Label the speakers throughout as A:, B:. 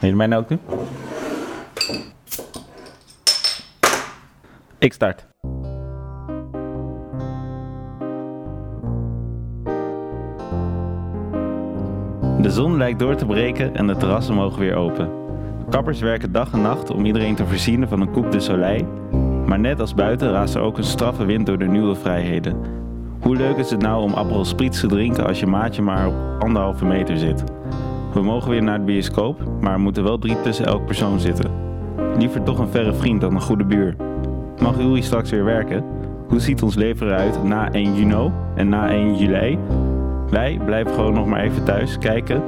A: Wil je mij nou ook doen? Ik start. De zon lijkt door te breken en de terrassen mogen weer open. Kappers werken dag en nacht om iedereen te voorzien van een coupe de soleil. Maar net als buiten raast er ook een straffe wind door de nieuwe vrijheden. Hoe leuk is het nou om Aperol Spritz te drinken als je maatje maar op anderhalve meter zit? We mogen weer naar de bioscoop, maar er moeten wel drie tussen elk persoon zitten. Liever toch een verre vriend dan een goede buur. Mag Uri straks weer werken? Hoe ziet ons leven eruit na 1 juni en na 1 juli? Wij blijven gewoon nog maar even thuis kijken,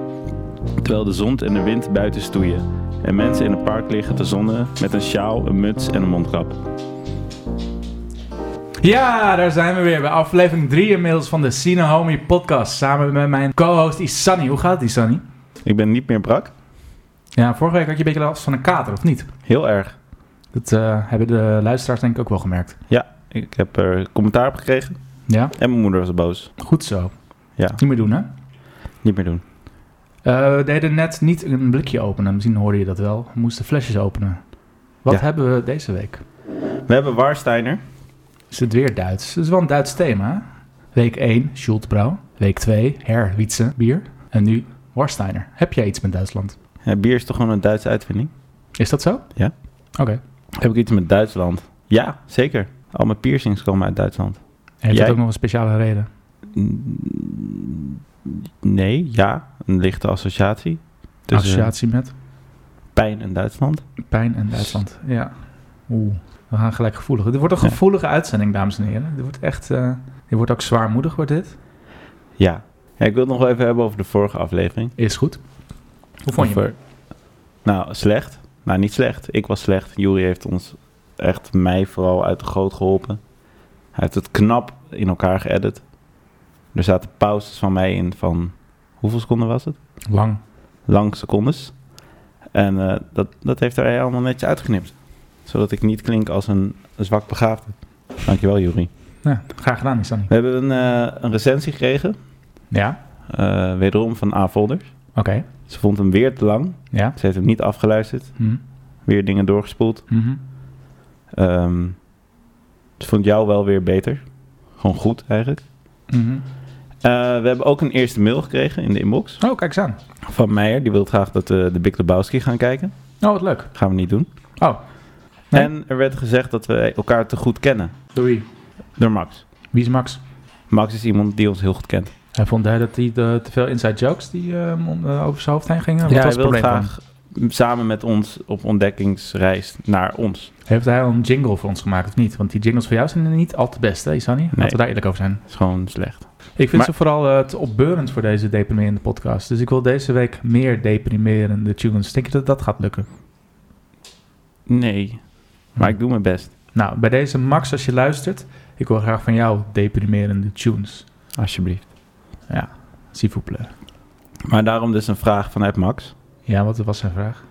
A: terwijl de zon en de wind buiten stoeien. En mensen in het park liggen te zonnen met een sjaal, een muts en een mondkap.
B: Ja, daar zijn we weer bij aflevering 3 inmiddels van de Sinahomi podcast. Samen met mijn co-host Isani. Hoe gaat het Isani?
A: Ik ben niet meer brak.
B: Ja, vorige week had je een beetje last van een kater, of niet?
A: Heel erg.
B: Dat eh, hebben de luisteraars denk ik ook wel gemerkt.
A: Ik heb er commentaar op gekregen
B: Ja,
A: en mijn moeder was boos.
B: goed zo.
A: Ja.
B: Niet meer doen, hè?
A: Niet meer doen.
B: Eh, we deden net niet een blikje openen. Misschien hoorde je dat wel. We moesten flesjes openen. Wat
A: Ja.
B: hebben we deze week?
A: We hebben Warsteiner.
B: Is het weer Duits? Het is wel een Duits thema. hè? Week 1, Schultbrouw. Week 2, Herwietse bier. En nu Warsteiner. Heb jij iets met Duitsland?
A: Eh, bier is toch gewoon een Duitse uitvinding?
B: Is dat zo?
A: Ja.
B: Oké.
A: Heb ik iets met Duitsland? Ja, zeker. Al mijn piercings komen uit Duitsland.
B: Heeft
A: Jij?
B: dat ook nog een speciale reden?
A: Mm, Nee, ja. Een lichte associatie. Tussen
B: Associatie met
A: pijn en Duitsland.
B: pijn en Duitsland. Ja. Oeh, we gaan gelijk gevoelig. Dit wordt een
A: Ja.
B: gevoelige uitzending, dames en heren. Dit wordt echt... eh, dit wordt ook zwaarmoedig, wordt dit.
A: Ja. Ja, Ik wil het nog wel even hebben over de vorige aflevering.
B: Is goed. Hoe vond je hem?
A: Over- Nou, slecht. Nou, niet slecht. Ik was slecht. Jury heeft ons echt, mij vooral, uit de goot geholpen. Hij heeft het knap in elkaar geëdit. Er zaten pauzes van mij in van... Hoeveel seconden was het?
B: Lang.
A: Lang secondes. En eh, dat, dat heeft hij allemaal netjes uitgeknipt. Zodat ik niet klink als een, een zwak begaafde. Dankjewel, Jury.
B: Ja, graag gedaan, Isani.
A: We hebben een, eh, een recensie gekregen.
B: Ja?
A: eh, wederom van A. Volders.
B: Oké.
A: Ze vond hem weer te lang.
B: Ja?
A: Ze heeft hem niet afgeluisterd.
B: Hm.
A: Weer dingen doorgespoeld.
B: Mhm.
A: Ehm ze vond jou wel weer beter. Gewoon goed eigenlijk.
B: Mhm.
A: Eh, we hebben ook een eerste mail gekregen in de inbox.
B: Oh, kijk eens aan.
A: Van Meijer. Die wil graag dat we de Big Lebowski gaan kijken.
B: Oh, wat leuk.
A: Gaan we niet doen.
B: Oh. Nee.
A: En er werd gezegd dat we elkaar te goed kennen.
B: Doei.
A: Door Max.
B: Wie is Max?
A: Max is iemand die ons heel goed kent.
B: Hij vond hij dat hij de, te veel inside jokes die eh, om- eh, over zijn hoofd heen gingen. Wat
A: Ja,
B: was
A: hij wil
B: het probleem van hem?
A: graag samen met ons op ontdekkingsreis naar ons.
B: Heeft hij al een jingle voor ons gemaakt of niet? Want die jingles voor jou zijn niet al te best, hè, Isani? Laten
A: Nee.
B: we daar eerlijk over zijn.
A: Dat is gewoon slecht.
B: Ik vind
A: Maar-
B: ze vooral eh, te opbeurend voor deze deprimerende podcast. Dus ik wil deze week meer deprimerende tunes. Denk je dat dat gaat lukken?
A: Nee. Maar ik doe mijn best.
B: Nou, bij deze Max, als je luistert, ik wil graag van jou deprimerende tunes.
A: Alsjeblieft.
B: S'il vous plaît.
A: Maar daarom dus een vraag vanuit Max.
B: Ja, wat was zijn vraag?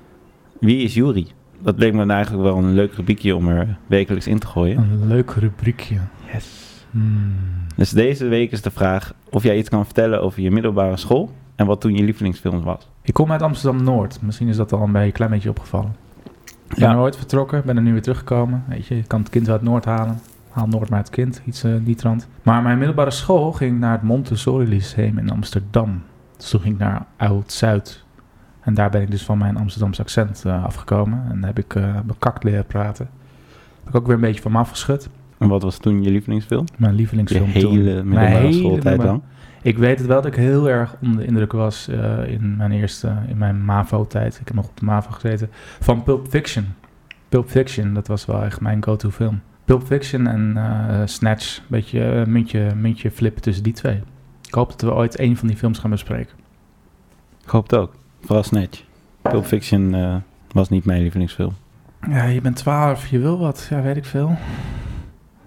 A: Wie is Jury? Dat leek me eigenlijk wel een leuk rubriekje om er wekelijks in te gooien.
B: Een leuk rubriekje.
A: Yes.
B: Hmm.
A: Dus deze week is de vraag of jij iets kan vertellen over je middelbare school en wat toen je lievelingsfilm was.
B: Ik kom uit Amsterdam-Noord. Misschien is dat al een, beetje, klein beetje opgevallen. Ik ben
A: Ja.
B: er ooit vertrokken, ben er nu weer teruggekomen. Weet je, je kan het kind uit Noord halen. Haal Noord maar het kind, iets eh, in die trant. Maar mijn middelbare school ging naar het Montessori Lyceum in Amsterdam. Dus toen ging ik naar Oud-Zuid. En daar ben ik dus van mijn Amsterdamse accent eh, afgekomen. En heb ik eh bekakt leren praten. Heb ik ook weer een beetje van me afgeschud.
A: En wat was toen je lievelingsfilm?
B: Mijn
A: Je
B: lievelingsfilm toen.
A: hele middelbare
B: hele
A: schooltijd dan?
B: Ik weet het wel dat ik heel erg onder de indruk was eh, in mijn eerste, in mijn MAVO-tijd. Ik heb nog op de MAVO gezeten. Van Pulp Fiction. Pulp Fiction, dat was wel echt mijn go-to film. Pulp Fiction en eh, Snatch. Een beetje eh, muntje, muntje flippen tussen die twee. Ik hoop dat we ooit één van die films gaan bespreken.
A: Ik hoop het ook. Vooral Snatch. Pulp Fiction eh, was niet mijn lievelingsfilm.
B: Ja, je bent twaalf, je wil wat. Ja, weet ik veel.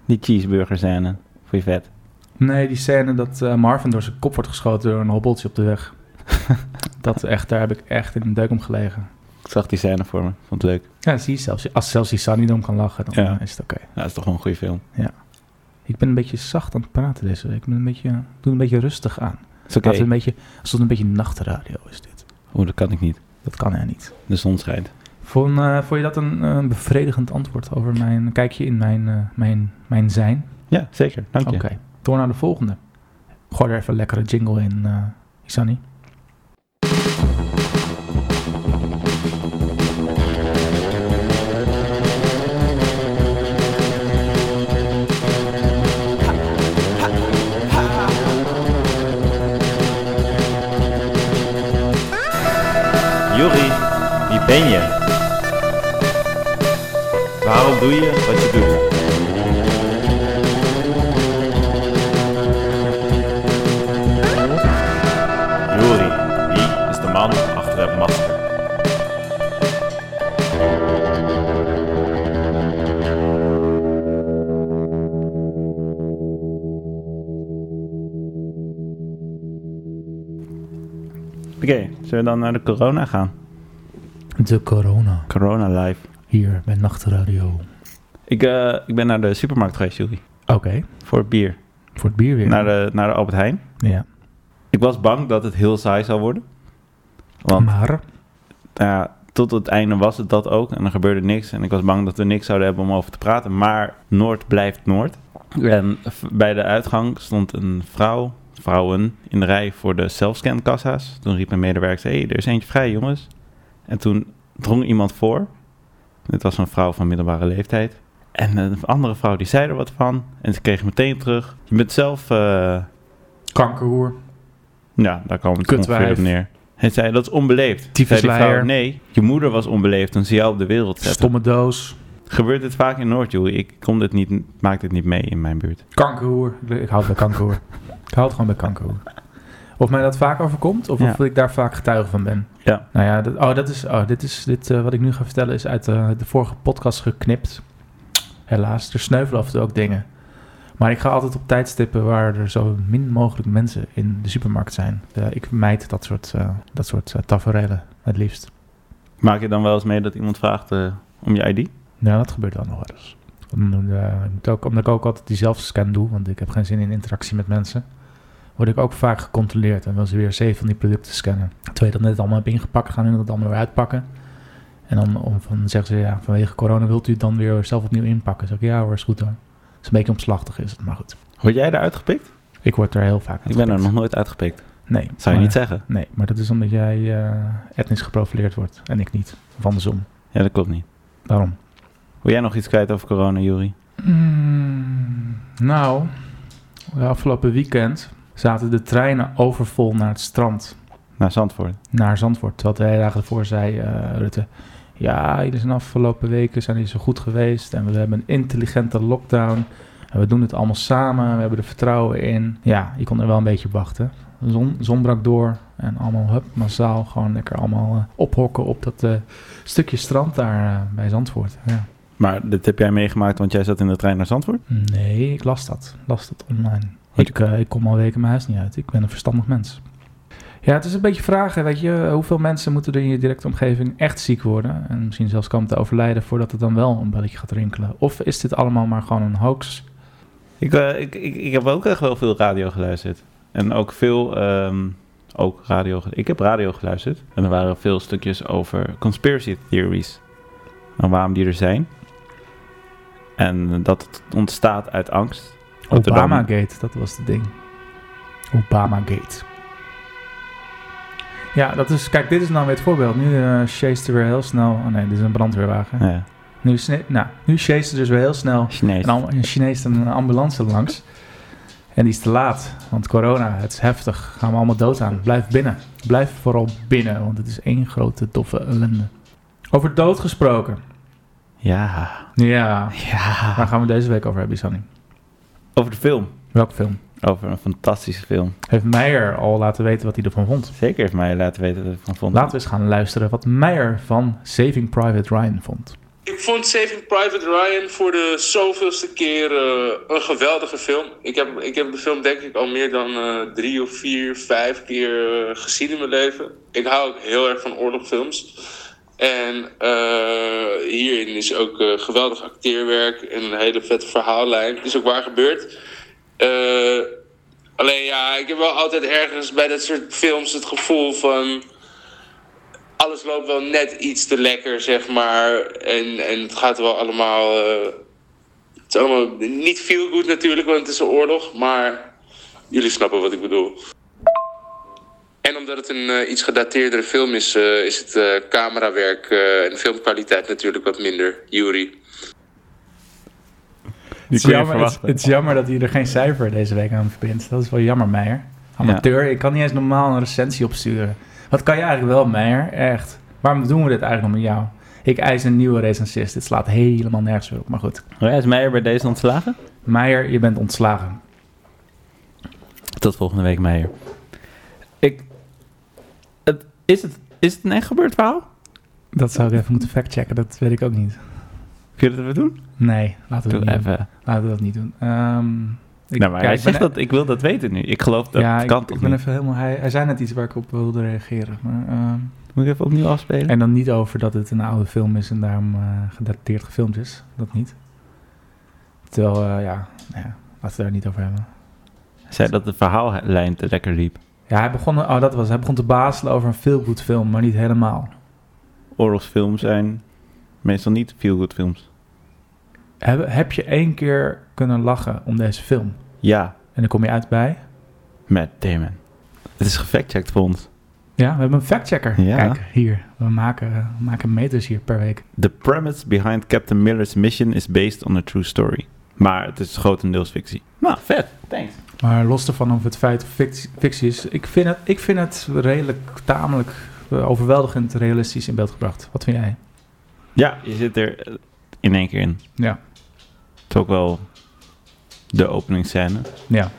A: Die cheeseburger scène. Vond je vet?
B: Nee, die scène dat eh, Marvin door zijn kop wordt geschoten door een hobbeltje op de weg. dat echt, daar heb ik echt in een deuk om gelegen.
A: Ik zag die scène voor me. Vond het leuk.
B: Ja, zie je zelfs. Als zelfs die Sunny erom kan lachen, dan
A: Ja.
B: eh, is het oké.
A: Ja, Nou, dat is toch wel een goede film.
B: Ik ben een beetje zacht aan het praten deze week. Ik ben een beetje, ik doe een beetje rustig aan.
A: Is oké.
B: Laten we een beetje, alsof het een beetje nachtradio is dit.
A: Oeh, dat kan ik niet.
B: Dat kan hè niet.
A: De zon schijnt.
B: Vond, eh, vond je dat een, een bevredigend antwoord over mijn kijkje in mijn, eh, mijn, mijn zijn?
A: Ja, zeker. Dank je.
B: Oké, door naar de volgende. Gooi er even een lekkere jingle in, eh Isani.
A: Juri, wie ben je? Waarom doe je wat je doet? Juri, wie is de man achter het masker? Oké, zullen we dan naar de corona gaan?
B: De corona,
A: Corona live.
B: hier bij Nachtradio. Oké,
A: Ik, eh, ik ben naar de supermarkt geweest, Juri. Voor bier.
B: voor het bier weer.
A: Naar de, naar de Albert Heijn.
B: ja.
A: Ik was bang dat het heel saai zou worden. Want
B: Maar,
A: nou ja, tot het einde was het dat ook. En er gebeurde niks. En ik was bang dat we niks zouden hebben om over te praten. Maar Noord blijft Noord. En v- bij de uitgang stond een vrouw, vrouwen, in de rij voor de selfscan-kassa's. Toen riep een medewerker, hé, hey, er is eentje vrij, jongens. En toen drong iemand voor. Dit was een vrouw van middelbare leeftijd. En een andere vrouw die zei er wat van. En ze kreeg meteen terug. Je bent zelf... eh,
B: kankerhoer,
A: ja, daar kwam het
B: Kutwijf.
A: ongeveer op neer. Hij zei, dat is onbeleefd.
B: Tyfus
A: Zei die vrouw,
B: leier.
A: nee, je moeder was onbeleefd toen ze jou op de wereld zette.
B: stomme doos,
A: Gebeurt dit vaak in Noord, joh. Ik kom dit niet, maak dit niet mee in mijn buurt.
B: kankerhoer. Ik, ik hou het bij kankerhoer. ik hou het gewoon bij kankerhoer. Of mij dat vaak overkomt, of,
A: Ja.
B: of ik daar vaak getuige van ben.
A: Ja.
B: Nou ja, dat, oh, dat is, oh, dit, is, dit eh, wat ik nu ga vertellen is uit eh, de vorige podcast geknipt. Helaas, er sneuvelen af en toe ook dingen. Maar ik ga altijd op tijdstippen waar er zo min mogelijk mensen in de supermarkt zijn. Eh, ik mijd dat soort, eh, dat soort eh, taferelen het liefst.
A: Maak je dan wel eens mee dat iemand vraagt eh, om je ID?
B: Nou, dat gebeurt wel nog wel eens. Om- eh, ik moet ook, omdat ik ook altijd die zelfscan doe, want ik heb geen zin in interactie met mensen, word ik ook vaak gecontroleerd. En wil ze weer zeven van die producten scannen. Terwijl ik dat net allemaal heb ingepakt, gaan hun dat allemaal weer uitpakken. En dan om van, zeggen ze, ja, vanwege corona wilt u het dan weer zelf opnieuw inpakken? Zeg ik, ja hoor, is goed hoor. Het is een beetje omslachtig is het, maar goed.
A: Word jij daar uitgepikt?
B: Ik word er heel vaak
A: Ik ben er
B: uitgepikt.
A: nog nooit uitgepikt.
B: Nee.
A: Zou je
B: maar-
A: niet zeggen?
B: Nee, maar dat is omdat jij eh, etnisch geprofileerd wordt en ik niet. Of andersom.
A: Ja, dat klopt niet.
B: Daarom.
A: Wil jij nog iets kwijt over corona, Juri?
B: Mm, nou, de afgelopen weekend zaten de treinen overvol naar het strand,
A: Naar Zandvoort.
B: naar Zandvoort. Terwijl twee dagen ervoor zei eh, Rutte, ja, jullie zijn afgelopen weken zijn jullie zo goed geweest en we hebben een intelligente lockdown. En we doen het allemaal samen, we hebben er vertrouwen in. Ja, je kon er wel een beetje op wachten. De zon, zon brak door en allemaal hup, massaal gewoon lekker allemaal eh, ophokken op dat eh, stukje strand daar eh, bij Zandvoort. Ja.
A: Maar dit heb jij meegemaakt, want jij zat in de trein naar Zandvoort?
B: Nee, ik las dat. Las dat online.
A: Wat-
B: Ik, eh, ik kom al weken mijn huis niet uit. Ik ben een verstandig mens. Ja, het is een beetje vragen, weet je. Hoeveel mensen moeten er in je directe omgeving echt ziek worden? En misschien zelfs komen te overlijden voordat het dan wel een belletje gaat rinkelen. Of is dit allemaal maar gewoon een hoax?
A: Ik, eh, ik, ik, ik heb ook echt wel veel radio geluisterd. En ook veel. ehm, ook radio. ge- Ik heb radio geluisterd. En er waren veel stukjes over conspiracy theories. En waarom die er zijn. En dat het ontstaat uit angst. Dat er dan-
B: Obamagate, dat was het ding. Obamagate. Ja, dat is... Kijk, dit is nou weer het voorbeeld. Nu eh chase er weer heel snel... Oh nee, dit is een brandweerwagen.
A: Ja,
B: Nu, sne- nou, nu chase er dus weer heel snel
A: Chinees.
B: En al- Nou, een Chinees en een ambulance langs. En die is te laat, want corona, het is heftig. Gaan we allemaal dood aan. Blijf binnen. Blijf vooral binnen, want het is één grote doffe ellende. Over dood gesproken.
A: Ja.
B: Ja,
A: Ja.
B: waar gaan we deze week over hebben, Sunny?
A: Over de film.
B: Welke film?
A: Over een fantastische film.
B: Heeft Meijer al laten weten wat hij ervan vond?
A: Zeker heeft mij laten weten dat ik van vond.
B: Laten we eens gaan luisteren wat Meijer van Saving Private Ryan vond.
C: Ik vond Saving Private Ryan voor de zoveelste keer eh, een geweldige film. Ik heb, ik heb de film denk ik al meer dan eh, drie of vier, vijf keer eh, gezien in mijn leven. Ik hou ook heel erg van oorlogfilms. En eh, hierin is ook eh, geweldig acteerwerk en een hele vette verhaallijn. Het is ook waar gebeurd. Eh, alleen ja, ik heb wel altijd ergens bij dat soort films het gevoel van alles loopt wel net iets te lekker, zeg maar. En, en het gaat wel allemaal. eh, het is allemaal niet feel good natuurlijk, want het is een oorlog. Maar jullie snappen wat ik bedoel. En omdat het een eh, iets gedateerdere film is, eh, is het eh, camerawerk eh, en filmkwaliteit natuurlijk wat minder. Jury.
B: Het
A: Die
B: is,
A: kun je
B: jammer, het,
A: verwachten.
B: het is jammer dat hij er geen cijfer deze week aan verbindt. Dat is wel jammer, Meijer. Amateur, ik kan niet eens normaal een recensie opsturen. Wat kan je eigenlijk wel, Meijer? Echt. Waarom doen we dit eigenlijk nog met jou? Ik eis een nieuwe recensist. Dit slaat helemaal nergens meer op, maar goed.
A: Oh ja, is Meijer bij deze ontslagen?
B: Meijer, je bent ontslagen.
A: Tot volgende week, Meijer. Ik... Het, is, het, is het een echt gebeurd verhaal?
B: Dat zou ik even moeten factchecken, dat weet ik ook niet.
A: Kun je dat even doen?
B: Nee, laten we,
A: Doe
B: dat niet, doen.
A: even.
B: Laten we dat niet doen. Ehm, ik,
A: nou, maar
B: ja,
A: hij
B: ik ben
A: zegt dat, ik wil dat weten nu. Ik geloof dat
B: ja,
A: het
B: ik-
A: kan
B: ik,
A: toch
B: ben
A: niet?
B: even helemaal... Hij, hij zei net iets waar ik op wilde reageren, maar... ehm,
A: Moet ik even opnieuw afspelen?
B: En dan niet over dat het een oude film is en daarom eh, gedateerd gefilmd is. Dat niet. Terwijl, eh, ja, nou ja, laten we het daar niet over hebben.
A: Hij zei dat de verhaallijn te lekker liep.
B: Ja, hij begon, oh, dat was, hij begon te bazelen over een veelgoed film, maar niet helemaal.
A: Oorlogsfilms zijn meestal niet feel-good films.
B: Heb, heb je één keer kunnen lachen om deze film?
A: Ja,
B: En dan kom je uit bij...
A: Matt Damon. Het is gefactcheckt voor ons.
B: Ja, we hebben een factchecker.
A: Ja.
B: Kijk, hier. We maken, we maken meters hier per week.
A: The premise behind Captain Miller's mission is based on a true story. Maar het is grotendeels fictie. Nou, vet. Thanks.
B: Maar los ervan of het feit of fict- fictie is... Ik vind het, ik vind het redelijk, tamelijk eh, overweldigend realistisch in beeld gebracht. Wat vind jij?
A: Ja, je zit er eh, in één keer in.
B: Ja.
A: Het is ook wel de openingsscène.
B: Ja.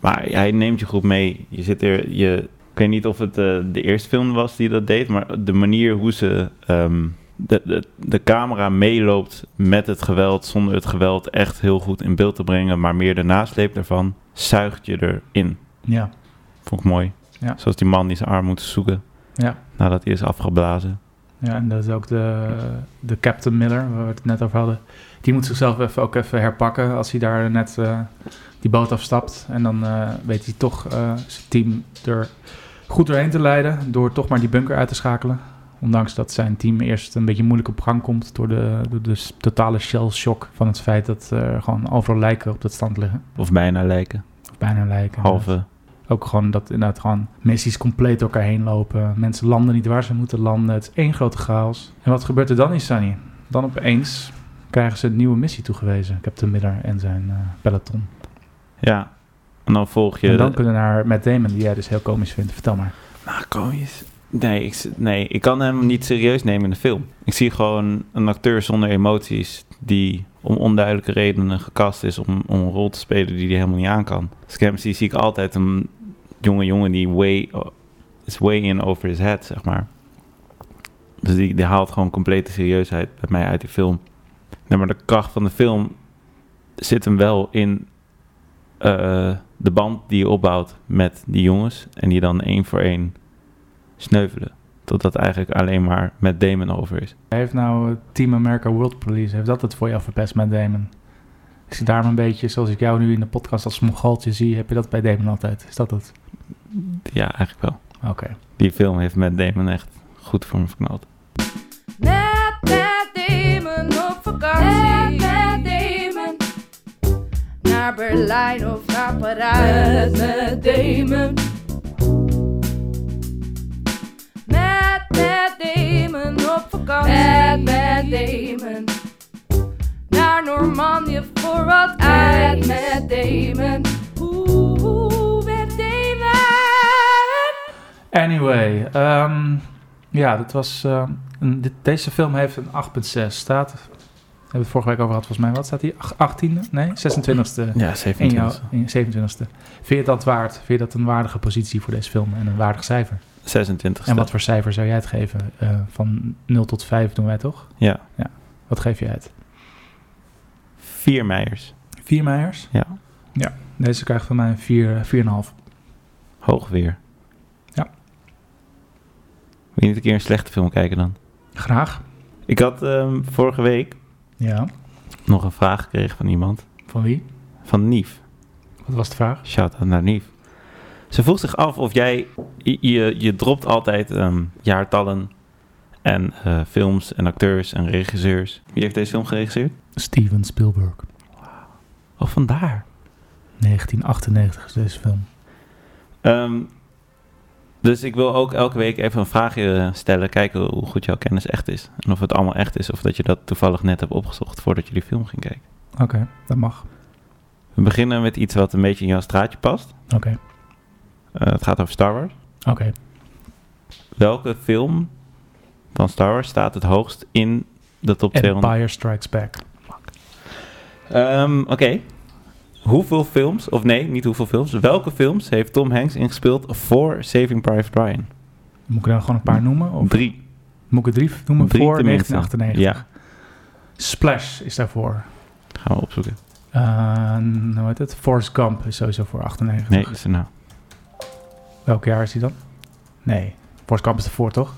A: Maar hij neemt je goed mee. Je zit er, je, ik weet niet of het eh, de eerste film was die dat deed, maar de manier hoe ze ehm, de, de, de camera meeloopt met het geweld, zonder het geweld echt heel goed in beeld te brengen, maar meer de nasleep daarvan, zuigt je erin.
B: Ja.
A: Vond ik mooi.
B: Ja.
A: Zoals die man die zijn arm moet zoeken
B: Ja.
A: nadat hij is afgeblazen.
B: Ja, en dat is ook de, de Captain Miller, waar we het net over hadden. Die moet zichzelf even, ook even herpakken als hij daar net eh, die boot afstapt. En dan eh, weet hij toch eh, zijn team er goed doorheen te leiden door toch maar die bunker uit te schakelen. Ondanks dat zijn team eerst een beetje moeilijk op gang komt door de, door de s- totale shell shock van het feit dat eh, er gewoon overal lijken op dat stand liggen.
A: Of bijna lijken.
B: Of bijna lijken.
A: Halve.
B: Ook gewoon dat inderdaad gewoon missies compleet door elkaar heen lopen. Mensen landen niet waar ze moeten landen. Het is één grote chaos. En wat gebeurt er dan in Sunny? Dan opeens krijgen ze een nieuwe missie toegewezen. Captain Miller en zijn eh, peloton.
A: Ja. En dan volg je...
B: en dan
A: de-
B: kunnen we naar Matt Damon, die jij dus heel komisch vindt. Vertel maar.
A: Nou, kom eens. Nee ik, z- nee, ik kan hem niet serieus nemen in de film. Ik zie gewoon een acteur zonder emoties die om onduidelijke redenen gekast is om, om een rol te spelen die hij helemaal niet aan kan. Als ik hem zie, zie ik altijd een jonge jongen die way, o- is way in over his head, zeg maar. Dus die, die haalt gewoon complete serieusheid bij mij uit die film. Nee, maar de kracht van de film zit hem wel in eh, de band die je opbouwt met die jongens. En die dan één voor één sneuvelen. Totdat eigenlijk alleen maar met Damon over is.
B: Hij heeft nou eh, Team America World Police. Heeft dat het voor jou verpest, Matt Damon? Is het daarom een beetje, zoals ik jou nu in de podcast als mongooltje zie, heb je dat bij Damon altijd? Is dat het?
A: Ja, eigenlijk wel.
B: Oké.
A: Die film heeft met Damon echt goed voor me verknald.
D: Met Matt Damon op vakantie. Met Matt Damon. Naar Berlijn of naar Parijs. Met Matt Damon. Met Matt Damon op vakantie. Met Matt Damon. Naar Normandië voor wat ijs. Met Matt Damon. Oeh, oeh, Matt Damon.
B: Anyway, ehm, ja, dat was. ehm, een- dit- deze film heeft een 8,6 staat. Hebben we het vorige week over gehad, volgens mij. Wat staat hier? Ach- 18e? Nee, 26e.
A: Ja,
B: In jouw,
A: 27.
B: in 27e. Vind je het dat waard? Vind je dat een waardige positie voor deze film en een waardig cijfer?
A: 26.
B: En wat voor cijfer zou jij het geven? Eh, van 0 tot 5 doen wij toch?
A: Ja.
B: Wat geef je uit?
A: Vier Meijers.
B: 4 meijers?
A: Ja.
B: Ja, deze krijgt van mij een vier- 4,5.
A: Hoog weer.
B: Ja.
A: Wil je niet een keer een slechte film kijken dan?
B: Graag.
A: Ik had ehm, vorige week
B: Ja.
A: nog een vraag gekregen van iemand.
B: Van wie?
A: Van Nief.
B: Wat was de vraag?
A: Shout-out naar Nief. Ze vroeg zich af of jij je, je, je dropt altijd ehm, jaartallen en eh, films en acteurs en regisseurs. Wie heeft deze film geregisseerd?
B: Steven Spielberg.
A: Oh, vandaar.
B: 1998 is deze film.
A: Ehm, dus ik wil ook elke week even een vraagje eh, stellen. Kijken hoe goed jouw kennis echt is. En of het allemaal echt is. Of dat je dat toevallig net hebt opgezocht voordat je die film ging kijken.
B: Oké, dat mag.
A: We beginnen met iets wat een beetje in jouw straatje past.
B: Oké,
A: Eh, het gaat over Star Wars.
B: oké.
A: Welke film van Star Wars staat het hoogst in de top 200?
B: Empire Strikes Back.
A: Ehm, Oké. Hoeveel films, of nee, niet hoeveel films. Welke films heeft Tom Hanks ingespeeld voor Saving Private Ryan?
B: Moet ik er dan gewoon een paar noemen? Of
A: Drie.
B: Moet ik er drie noemen
A: Drie
B: voor
A: tenminste.
B: 1998?
A: Ja,
B: Splash is daarvoor.
A: gaan we opzoeken.
B: Eh, hoe heet het? Forrest Gump is sowieso voor 98.
A: Nee, is er nou.
B: Welk jaar is die dan? Nee, Forrest Gump is daarvoor, toch?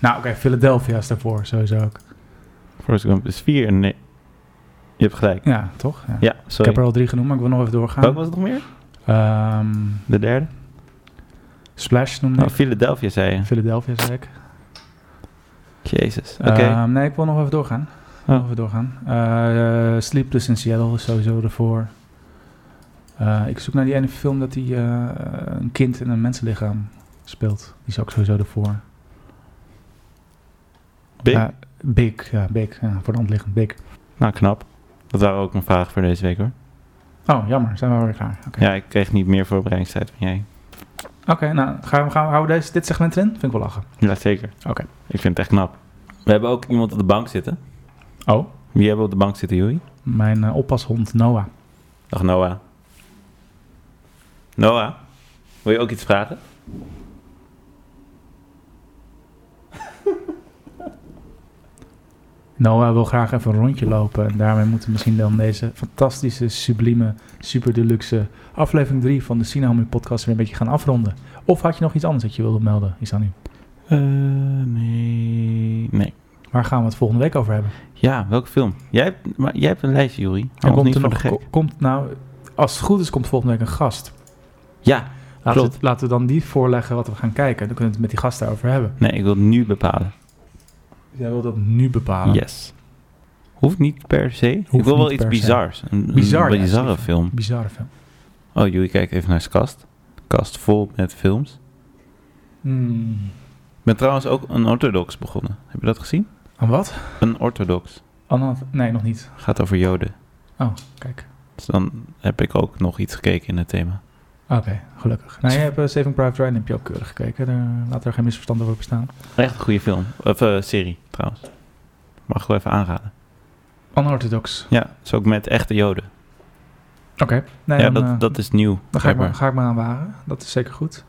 B: Nou, oké, Philadelphia is daarvoor, sowieso ook.
A: Forrest Gump is vier. en Nee. Je hebt gelijk.
B: Ja, toch? Ja.
A: Ja,
B: ik heb
A: sorry.
B: er al drie genoemd, maar ik wil nog even
A: Welke
B: doorgaan.
A: was het nog meer?
B: Ehm,
A: De derde?
B: Splash noemde
A: Oh,
B: ik.
A: Philadelphia zei je.
B: Philadelphia zei ik.
A: Jezus. Oké. Oh,
B: Ehm, nee, ik wil nog even doorgaan. Nog even doorgaan. Eh, eh, Sleepless in Seattle is sowieso ervoor. Eh, ik zoek naar die ene film dat hij een kind in een mensenlichaam speelt. Die is ook sowieso ervoor.
A: Big?
B: Eh, big, ja, Big. Ja, voor de hand liggend, Big.
A: Nou, knap. Dat waren ook mijn vragen voor deze week hoor.
B: Oh, jammer. Zijn we weer klaar. Oké,
A: Ja, ik kreeg niet meer voorbereidingstijd van jij.
B: Oké, nou, gaan we, gaan we, houden we deze, dit segment erin? Vind ik wel lachen.
A: Ja, zeker.
B: Oké.
A: Ik vind het echt knap. We hebben ook iemand op de bank zitten.
B: Oh,
A: Wie hebben we op de bank zitten, Joey?
B: mijn eh, oppashond Noah.
A: Dag Noah. Noah, wil je ook iets vragen?
B: Noah wil graag even een rondje lopen. En daarmee moeten we misschien dan deze fantastische, sublieme, super deluxe aflevering 3 van de Sinahome podcast weer een beetje gaan afronden. Of had je nog iets anders dat je wilde melden, Isani?
A: Eh, nee. Nee.
B: Waar gaan we het volgende week over hebben?
A: Ja, welke film? Jij hebt, maar jij hebt een lijstje, Joey.
B: En
A: Hou ons
B: komt
A: niet
B: er
A: voor de
B: nog,
A: gek.
B: ko- komt nou, als het goed is, komt volgende week een gast.
A: Ja,
B: Laten we,
A: Klopt.
B: laten we dan die voorleggen wat we gaan kijken. Dan kunnen we het met die gast daarover hebben.
A: nee, ik wil het nu bepalen.
B: Jij wil dat nu bepalen.
A: Yes. Hoeft niet per se. ik
B: Ah. Hoeft
A: wil wel
B: niet
A: iets
B: per se.
A: bizars. Een, een
B: Bizar, ja,
A: bizarre
B: zeker.
A: film.
B: Bizarre film.
A: Oh, Joey kijkt even naar zijn kast. Kast vol met films.
B: Hmm.
A: Ik ben trouwens ook een orthodox begonnen. Heb je dat gezien?
B: Aan wat?
A: Een orthodox.
B: Anna, nee, nog niet.
A: Gaat over joden.
B: Oh, kijk.
A: Dus dan heb ik ook nog iets gekeken in het thema.
B: Oké, gelukkig. Nou, je hebt eh, Saving Private Ryan heb je ook keurig gekeken. Daar, laat er geen misverstand over bestaan.
A: Echt een goede film. Of eh, serie, trouwens. Mag ik wel even aanraden.
B: Unorthodox.
A: Ja, is ook met echte joden.
B: Oké. Nee,
A: ja,
B: dan,
A: dat,
B: eh,
A: dat is nieuw.
B: dan ga, ik me,
A: blijkbaar.
B: ga ik me aan waren. Dat is zeker goed.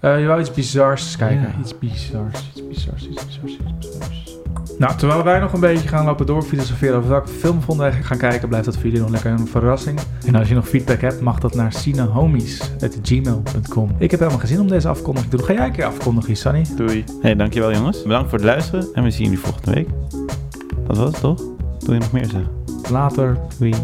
B: Eh, je wou iets bizars kijken.
A: Ja.
B: Iets bizars, iets bizars, iets bizars, iets bizars. Nou, terwijl wij nog een beetje gaan lopen door filosoferen over welke film vonden wij gaan kijken, blijft dat voor jullie nog lekker een verrassing. En als je nog feedback hebt, mag dat naar cinehomies.gmail.com. Ik heb helemaal geen zin om deze afkondiging te doen. Ga jij een keer afkondigen, Sunny?
A: Doei. Hey, dankjewel jongens. Bedankt voor het luisteren en we zien jullie volgende week. Dat was het toch? Wil je nog meer zeggen?
B: Later.
A: Doei.